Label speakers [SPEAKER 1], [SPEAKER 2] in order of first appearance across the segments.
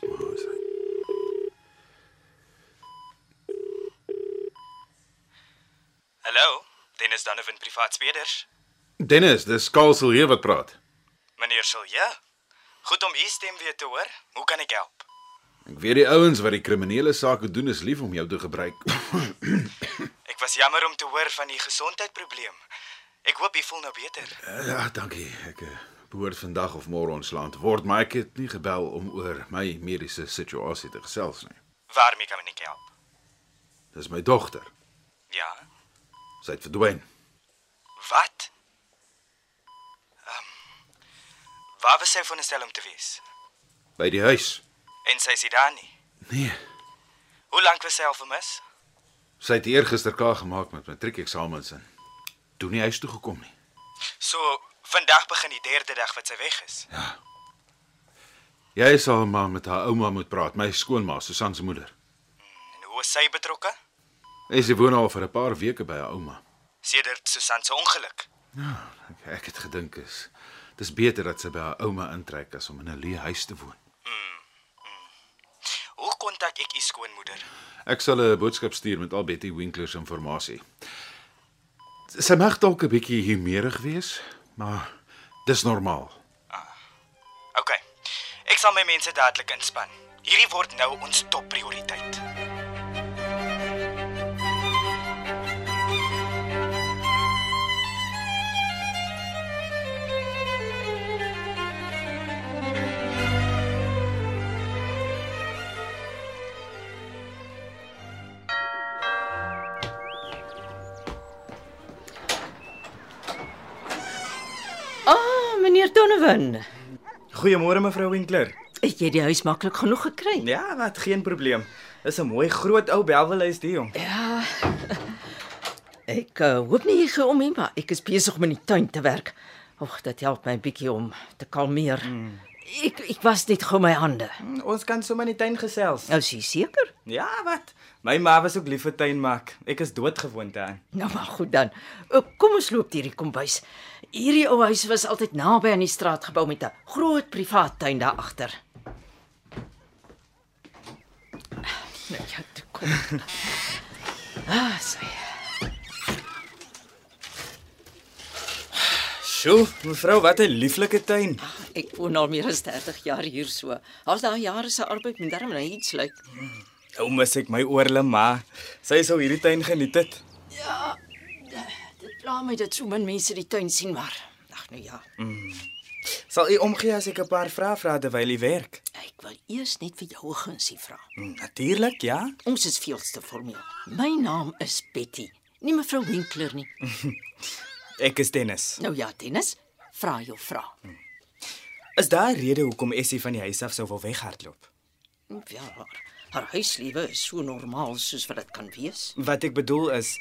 [SPEAKER 1] Waar is hy?
[SPEAKER 2] Hallo, Dennis Donovan privaat speders.
[SPEAKER 1] Dennis, dis Karl Silje wat praat.
[SPEAKER 2] Meneer Silje. Goed om u stem weer te hoor. Hoe kan ek help?
[SPEAKER 1] Ek weet die ouens wat die kriminele saak doen is lief om jou te gebruik.
[SPEAKER 2] Ek was jammer om te hoor van u gesondheidprobleem. Ek hoop u voel nou beter.
[SPEAKER 1] ja, dankie. Ek eh, behoort vandag of môre ontslaan te word, maar ek het nie gebel om oor my mediese situasie te gesels nie.
[SPEAKER 2] Waarmee kan ek help?
[SPEAKER 1] Dis my dogter.
[SPEAKER 2] Ja.
[SPEAKER 1] Sy het verdwyn.
[SPEAKER 2] Wat? Ehm um, Waar was sy veronderstel om te wees?
[SPEAKER 1] By die huis.
[SPEAKER 2] En sy is nie daar nie.
[SPEAKER 1] Nee.
[SPEAKER 2] Hoe lank was sy al vermis?
[SPEAKER 1] Sy het eergister klaar gemaak met matriekeksamens en toe nie huis toe gekom nie.
[SPEAKER 2] So, vandag begin die derde dag wat sy weg is.
[SPEAKER 1] Jy sal maar met haar ouma moet praat, my skoonma, Susan se moeder.
[SPEAKER 2] En hoe is sy betrokke?
[SPEAKER 1] En sy woon al vir 'n paar weke by haar ouma.
[SPEAKER 2] Sedert Susan se ongeluk.
[SPEAKER 1] Ah, Ek, ek het gedink is dis beter dat sy by haar ouma intrek as om in 'n leë huis te woon.
[SPEAKER 2] Hoe kontak ek u skoonmoeder?
[SPEAKER 1] Ek sal 'n boodskap stuur met al Betty Winkler se inligting. Sy mag dalk 'n bietjie humeurig wees, maar dis normaal.
[SPEAKER 2] OK. Ek sal my mense dadelik inspann. Hierdie word nou ons topprioriteit.
[SPEAKER 3] Ah, meneer Donovan,
[SPEAKER 2] Goeiemôre mevrou Winkler.
[SPEAKER 3] het jy die huis maklik genoeg gekry?
[SPEAKER 2] Ja, wat geen probleem. Dis 'n mooi groot ou belwelhuis die jong.
[SPEAKER 3] Ek uh, hoop nie jy gee om nie, maar ek is besig om in die tuin te werk. Ag, dit help my bietjie om te kalmeer. Mm. Ek ek was net gou my hande.
[SPEAKER 2] Hm, Ons kan sommer in die tuin gesels.
[SPEAKER 3] Nou is jy seker?
[SPEAKER 2] Ja, wat? My ma was ook lief vir tuin maak. Ek is doodgewoond aan.
[SPEAKER 3] Nou maar goed dan. O, Kom ons loop deur die kombuis. Hierdie ou huis was altyd naby aan die straat gebou met 'n groot privaat tuin daar agter. Nou ja, toe kom. Ah, sê.
[SPEAKER 2] Sjoe, mevrou, wat 'n lieflike tuin.
[SPEAKER 3] Ah, Ek woon al meer as 30 jaar hier so. Daar's daai jare se arbeid met darm nou iets lyk.
[SPEAKER 2] Nou mis ek my oorle ma. Sy sou hierdie tuin geniet het.
[SPEAKER 3] Dit pla my dat so min mense die tuin sien maar. Ag nou ja.
[SPEAKER 2] Sal u omgee as ek 'n paar vrae vra terwyl u werk?
[SPEAKER 3] Ek wil eers net vir jou 'n gunsie vra.
[SPEAKER 2] Hm, Natuurlik, ja.
[SPEAKER 3] Ons is veel te formeel. My naam is Betty, nie mevrou Winkler nie.
[SPEAKER 2] Ek is Dennis.
[SPEAKER 3] Nou ja, Dennis, vra jou vraag.
[SPEAKER 2] Is daar 'n rede hoekom Essie van die huis af sou wil weghardloop?
[SPEAKER 3] Ja, haar, haar huislewe is so normaal soos wat dit kan wees.
[SPEAKER 2] Wat ek bedoel is,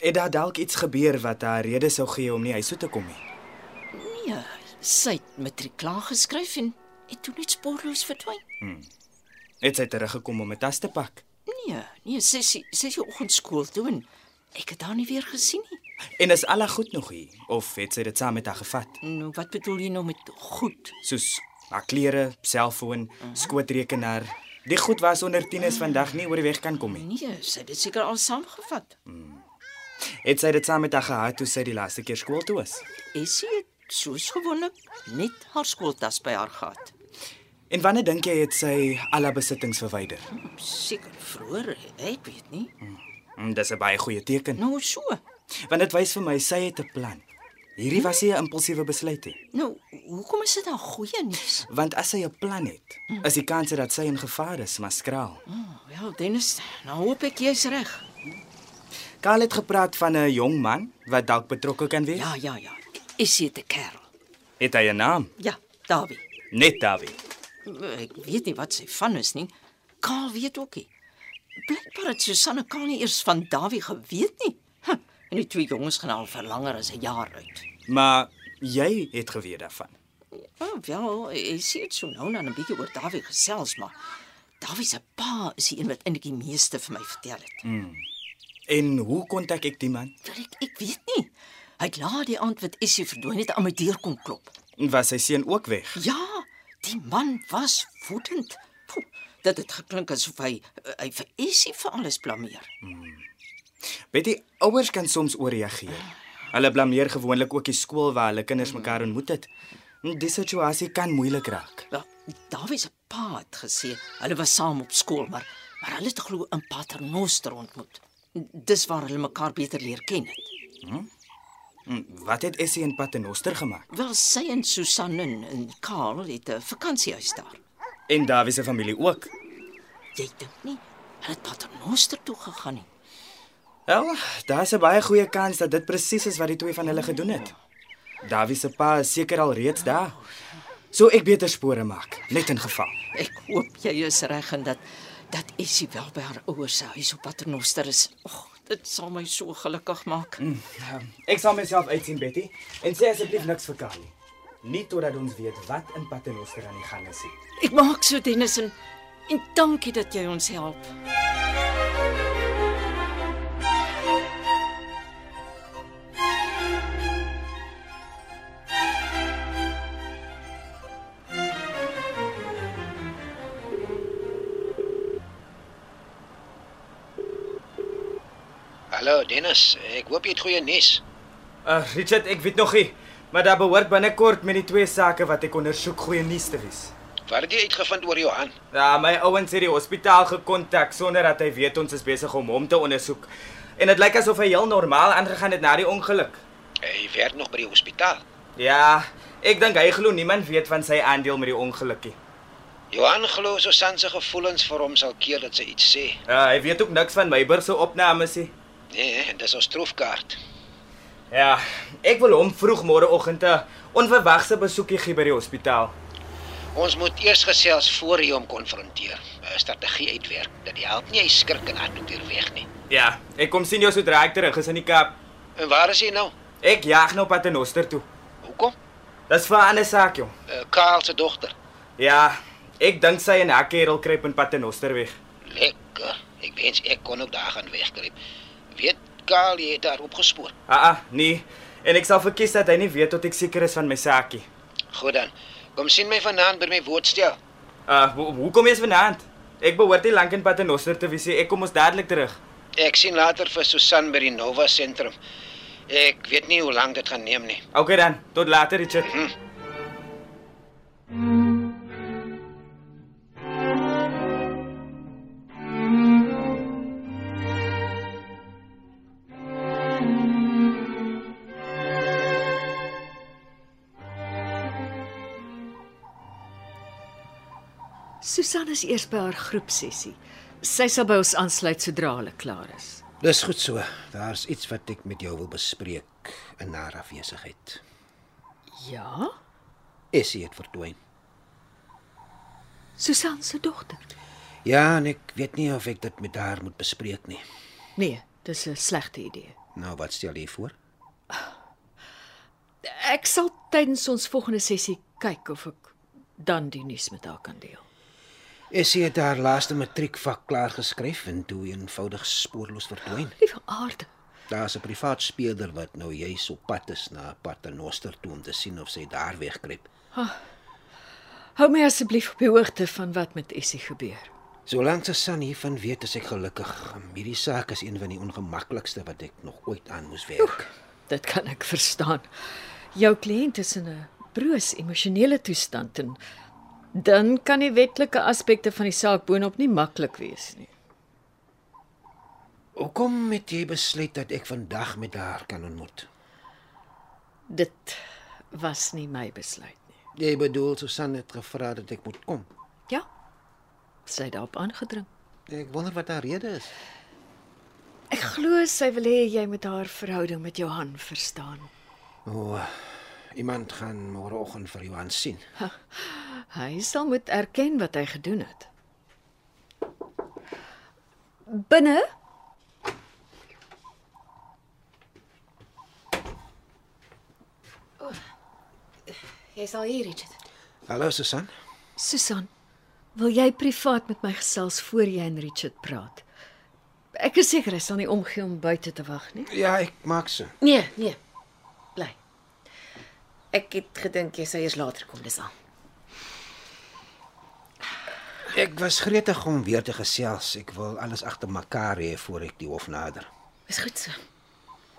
[SPEAKER 2] het daar dalk iets gebeur wat haar rede sou gee om nie huis toe te kom nie.
[SPEAKER 3] Nee, sy het matriek klaar geskryf en het toe net spoorloos verdwyn.
[SPEAKER 2] Het sy teruggekom om 'n tas te pak
[SPEAKER 3] Nee, nee, sy sy sy se oggendskool toe en ek het haar nie weer gesien nie.
[SPEAKER 2] en is alles goed nog hier of het sy dit saam met haar gevat?
[SPEAKER 3] Nou, wat bedoel jy nou met goed?
[SPEAKER 2] Soos haar klere, selfoon, skootrekenaar. Die goed was onder 10 is vandag nie oor die weg kan kom nie.
[SPEAKER 3] Nee, sy het dit seker al saamgevat.
[SPEAKER 2] Het sy dit saam met haar gehad toe sy die laaste keer skool toe was?
[SPEAKER 3] Essie het soos gewoonlik net haar skooltas by haar gehad.
[SPEAKER 2] En wanneer dink jy het sy al haar besittings verwyder?
[SPEAKER 3] Seker vroeër, ek weet nie.
[SPEAKER 2] Hm, Dis 'n baie goeie teken,
[SPEAKER 3] Nou so.
[SPEAKER 2] want dit wys vir my sy het 'n plan. Hierdie was nie 'n impulsiewe besluit nie.
[SPEAKER 3] Nou, hoekom is dit dan goeie nuus?
[SPEAKER 2] Want as sy 'n plan het, is die kans dat sy in gevaar is, maar skraal.
[SPEAKER 3] Oh, wel, Dennis, nou hoop ek jy's reg.
[SPEAKER 2] Karl het gepraat van 'n jong man wat dalk betrokke kan wees.
[SPEAKER 3] Ja, ja, ja. Essie het 'n kerel.
[SPEAKER 2] Het hy 'n naam?
[SPEAKER 3] Ja, Dawie.
[SPEAKER 2] Net Dawie.
[SPEAKER 3] Eh, Ek weet nie wat sy van is nie. Kaal weet ook nie. Blykbaar het Susanne Kaal nie eers van Dawie geweet nie. Huh, en die twee jonges gaan al vir langer as 'n jaar uit.
[SPEAKER 2] Maar jy het geweet daarvan.
[SPEAKER 3] Oh, wel, ek sien dit so nou dan 'n bietjie oor Dawie gesels, maar Dawie se pa is die een wat eintlik die meeste vir my vertel het. Mm.
[SPEAKER 2] En hoe kontak ek die man?
[SPEAKER 3] Ek ek weet nie. Hy het laat die aand wat Essie verdwyn het aan my deur kom klop.
[SPEAKER 2] Was sy seun ook weg?
[SPEAKER 3] Ja, die man was woedend. Poeh, dit het geklink asof hy eh, hy vir Essie vir alles blameer.
[SPEAKER 2] Betty, ouers kan soms ooreageer. Hulle blameer gewoonlik ook die skool waar hulle kinders mekaar ontmoet het. Die situasie kan moeilik raak.
[SPEAKER 3] Ja, Dawie se pa het gesê hulle was saam op skool, maar maar hulle het glo in Paternoster ontmoet. Dis waar hulle mekaar beter leer ken het.
[SPEAKER 2] Hm, Wat het Essie en Paternoster gemaak?
[SPEAKER 3] Wel sy en Susan en, en Karl het 'n vakansiehuis daar.
[SPEAKER 2] En Dawie se familie ook.
[SPEAKER 3] Jy dink nie hulle het Paternoster toe gegaan nie.
[SPEAKER 2] Wel, daar's 'n baie goeie kans dat dit presies is wat die twee van hulle gedoen het. Dawie se pa is seker al reeds daar. So ek beter spore maak, net in geval.
[SPEAKER 3] Ek hoop jy is reg en dat dat Essie wel by haar ouers se huis op Paternoster is. Och, dit sal my so gelukkig maak.
[SPEAKER 2] Ek sal myself uitsien, Betty, en sê asseblief niks vir Kali. Nie totdat ons weet wat in Paternoster aan die gang is nie.
[SPEAKER 3] Ek maak so Dennis en en dankie dat jy ons help.
[SPEAKER 4] Hallo Dennis, ek hoop jy het goeie nuus.
[SPEAKER 2] Uh, Richard, ek weet nog nie, maar daar behoort binnekort met die twee sake wat ek ondersoek goeie nuus te wees.
[SPEAKER 4] Wat het jy uitgevind oor Johan?
[SPEAKER 2] Ja, my ouens het die hospitaal gekontak sonder dat hy weet ons is besig om hom te ondersoek. En dit lyk asof hy heel normaal aangegaan het na die ongeluk.
[SPEAKER 4] Hy werk nog by die hospitaal.
[SPEAKER 2] Ja, ek dink hy glo niemand weet van sy aandeel met die ongelukkie.
[SPEAKER 4] Johan glo Susan se gevoelens vir hom sal keer dat sy iets sê.
[SPEAKER 2] Uh, hy weet ook niks van Meyburg se opnames nie.
[SPEAKER 4] Nee, en dis ons troefkaart.
[SPEAKER 2] Ja, ek wil hom vroeg môreoggend 'n onverwagse besoekie gee by die hospitaal.
[SPEAKER 4] Ons moet eers gesels voor jy hom konfronteer. 'n Strategie uitwerk. Dit help nie hy skrik en hardloop weer weg nie.
[SPEAKER 2] Ja, ek kom sien jou sodra ek terug is in die Kaap.
[SPEAKER 4] En waar is hy nou?
[SPEAKER 2] Ek jag nou Paternoster toe.
[SPEAKER 4] Hoekom?
[SPEAKER 2] Dis vir 'n ander saak, jong.
[SPEAKER 4] Uh, Karl se dogter.
[SPEAKER 2] Ja, ek dink sy en haar kerel kruip in Paternoster weg.
[SPEAKER 4] Lekker. Ek wens ek kon ook daar gaan wegkruip. Weet Karl jy het haar opgespoor.
[SPEAKER 2] Ah ah, nee. En ek sal verkies dat hy nie weet tot ek seker is van my saakie.
[SPEAKER 4] Goed dan. Kom sien my vanaand by my woordstel.
[SPEAKER 2] Uh, ho hoekom is vanaand? Ek behoort nie lank in Paternoster te wees nie. Ek kom ons dadelik terug.
[SPEAKER 4] Ek sien later vir Susan by die Nova sentrum. Ek weet nie hoe lank dit gaan neem nie.
[SPEAKER 2] Okay dan, tot later, Richard.
[SPEAKER 5] Susan is eers by haar groepsessie. Sy sal by ons aansluit sodra hulle klaar is.
[SPEAKER 6] Dis goed so. Daar's iets wat ek met jou wil bespreek in haar afwesigheid.
[SPEAKER 5] Ja?
[SPEAKER 6] Essie het verdwyn.
[SPEAKER 5] Susan se dogter.
[SPEAKER 6] Ja, en ek weet nie of ek dit met haar moet bespreek nie.
[SPEAKER 5] Nee, dis 'n slegte idee.
[SPEAKER 6] Nou, wat stel jy voor?
[SPEAKER 5] Ek sal tydens ons volgende sessie kyk of ek dan die nuus met haar kan deel.
[SPEAKER 6] Essie het haar laaste matriekvak klaar geskryf en toe eenvoudig spoorloos verdwyn.
[SPEAKER 5] Liewe aarde.
[SPEAKER 6] Daar's 'n privaat speurder wat nou juis op pad is na Paternoster toe om te sien of sy daar wegkruip.
[SPEAKER 5] Hou my asseblief op die hoogte van wat met Essie gebeur.
[SPEAKER 6] Solank Susan hiervan weet, is ek gelukkig. Hierdie saak is een van die ongemaklikste wat ek nog ooit aan moes werk. Oeh.
[SPEAKER 5] Dit kan ek verstaan. Jou kliënt is in 'n broos emosionele toestand en dan kan die wetlike aspekte van die saak boonop nie maklik wees nie.
[SPEAKER 6] Hoekom het jy besluit dat ek vandag met haar kan ontmoet?
[SPEAKER 5] Dit was nie my besluit nie.
[SPEAKER 6] Jy bedoel Susan het gevra dat ek moet kom.
[SPEAKER 5] Ja. Sy het daarop aangedring.
[SPEAKER 6] Ek wonder wat haar rede is.
[SPEAKER 5] Ek glo sy wil hê jy moet haar verhouding met Johan verstaan.
[SPEAKER 6] O, oh, iemand gaan môreoggend vir Johan sien.
[SPEAKER 5] Hy sal moet erken wat hy gedoen het. Binne?
[SPEAKER 7] Jy's al hier, Richard.
[SPEAKER 6] Hallo Susan.
[SPEAKER 5] Susan, wil jy privaat met my gesels voor jy en Richard praat? Ek is seker hy sal nie omgee om buite te wag nie.
[SPEAKER 6] Ja, ek maak so.
[SPEAKER 7] Nee, nee. Bly. Ek het gedink jy sou eers later kom, dis al.
[SPEAKER 6] Ek was gretig om weer te gesels. Ek wil alles agter mekaar hê voor ek die hof nader.
[SPEAKER 7] Is goed so.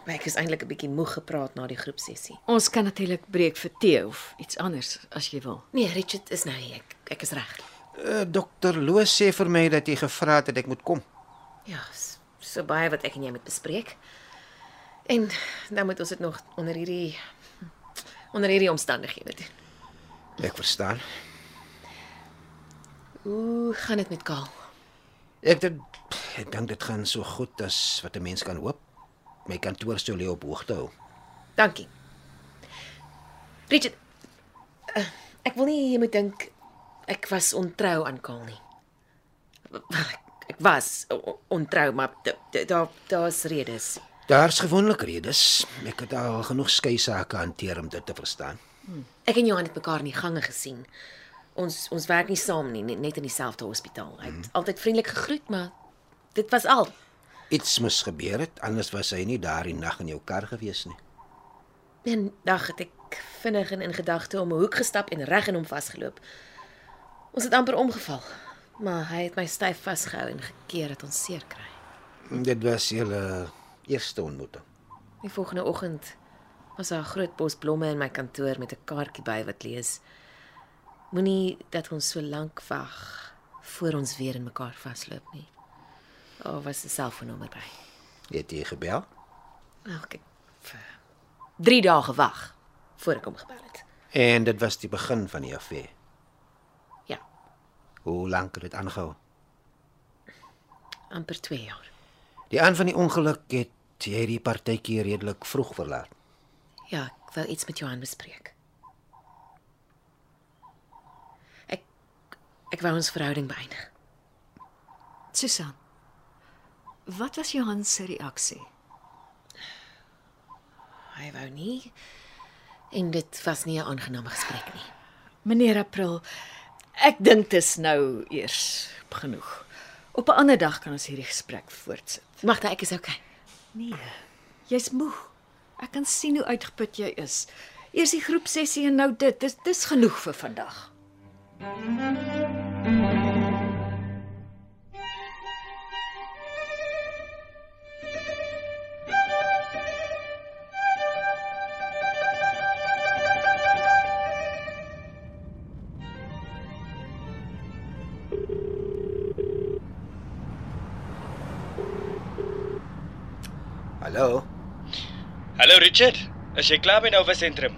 [SPEAKER 7] Maar ek is eintlik 'n bietjie moeg gepraat na die groepsessie.
[SPEAKER 5] Ons kan natuurlik breek vir tee of iets anders as jy wil.
[SPEAKER 7] Nee, Richard is nou hier. Ek ek is reg.
[SPEAKER 6] Uh, Dokter Loos sê vir my dat jy gevra het dat ek moet kom.
[SPEAKER 7] Ja, s- so baie wat ek en jy moet bespreek. En dan moet ons dit nog onder hierdie onder hierdie omstandighede doen.
[SPEAKER 6] Ek verstaan.
[SPEAKER 7] Hoe gaan dit met Kaal?
[SPEAKER 6] Ek dink ek dink dit gaan so goed as wat 'n mens kan hoop. My kantoor sou lê op hoogte hou.
[SPEAKER 7] Dankie. Richard, eh, ek wil nie jy moet dink ek was ontrou aan Kaal nie. Wel, ek- Ek was o- o- ontrou, maar da- da- daar daar's redes.
[SPEAKER 6] Daar's gewoonlik redes. Ek het al genoeg skei sake hanteer om dit te verstaan.
[SPEAKER 7] Ek en Johan het mekaar in die gange gesien. Ons ons werk nie saam nie, net net in dieselfde hospitaal. Hy het altyd vriendelik gegroet, maar dit was al.
[SPEAKER 6] Iets moes gebeur het, anders was hy nie daardie nag in jou kar gewees nie.
[SPEAKER 7] En dag het ek vinnig en in gedagte om 'n hoek gestap en reg in hom vasgeloop. Ons het amper omgeval, maar hy het my styf vasgehou en gekeer dat ons seer kry.
[SPEAKER 6] Dit was julle eerste ontmoeting.
[SPEAKER 7] Die volgende oggend was daar 'n groot bos blomme in my kantoor met 'n kaartjie by wat lees: Moenie dat ons so lank wag voor ons weer in mekaar vasloop nie. Daar oh, was 'n selfoonnommer by.
[SPEAKER 6] Het jy gebel?
[SPEAKER 7] Ag, ek 3 dae gewag voor ek hom gebel het.
[SPEAKER 6] En dit was die begin van die affair.
[SPEAKER 7] Ja,
[SPEAKER 6] Hoe lank het dit aangehou?
[SPEAKER 7] amper 2 jaar.
[SPEAKER 6] Die aan van die ongeluk het jy die partytjie redelik vroeg verlaat.
[SPEAKER 7] Ja, ek wou iets met Johan bespreek. Ek ek wou ons verhouding beëindig.
[SPEAKER 5] Susan. Wat was Johan se reaksie?
[SPEAKER 7] Hy wou nie en dit was nie 'n aangename gesprek nie.
[SPEAKER 5] Meneer April, ek dink dis nou eers genoeg. Op 'n ander dag kan ons hierdie gesprek voortsit.
[SPEAKER 7] Magda, ek is okay.
[SPEAKER 5] Nee. Jy's moeg. Ek kan sien hoe uitgeput jy is. Eers die groepsessie en nou dit. Dis dis genoeg vir vandag.
[SPEAKER 6] Hallo.
[SPEAKER 2] Hallo Richard, is jy klaar by Nova Sentrum?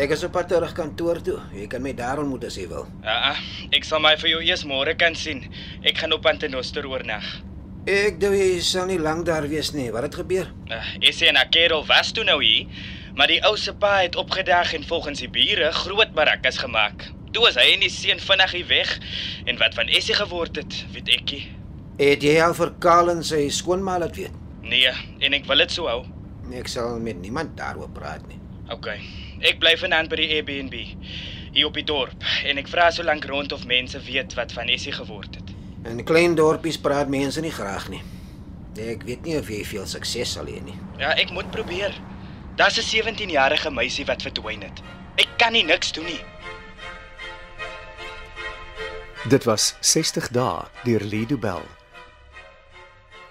[SPEAKER 6] Ek is op pad terug kantoor toe. Jy kan my daar ontmoet as jy wil.
[SPEAKER 2] Ah, uh, ek sal my vir jou eers môre kan sien. Ek gaan op Antenostor oornag.
[SPEAKER 6] Ek dink jy sal nie lank daar wees nie. Wat het gebeur?
[SPEAKER 2] Uh, Essie en Akerel was toe nou hier, maar die ou se pa het opgedag en volgens die bure groot barakas gemaak. Toe is hy en die seun vinnig hier weg en wat van Essie geword het, weet ek nie.
[SPEAKER 6] Het jy al vir Karl en sy skoonma laat weet?
[SPEAKER 2] Nee, en ek wil dit so hou.
[SPEAKER 6] Ek sal met niemand daaroor praat nie.
[SPEAKER 2] OK. Ek bly vanaand by die Airbnb hier op die dorp en ek vra so lank rond of mense weet wat van Essie geword het.
[SPEAKER 6] In klein dorpies praat mense nie graag nie. Ek weet nie of jy veel sukses sal hê nie.
[SPEAKER 2] Ja, ek moet probeer. Daar's 'n 17-jarige meisie wat verdwyn het. Ek kan nie niks doen nie.
[SPEAKER 8] Dit was 60 dae deur Lido Bell.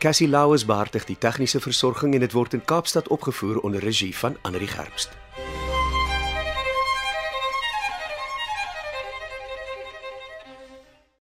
[SPEAKER 8] Cassie Lauers beheer die tegniese versorging en dit word in Kaapstad opgevoer onder regie van Anri Gerbst.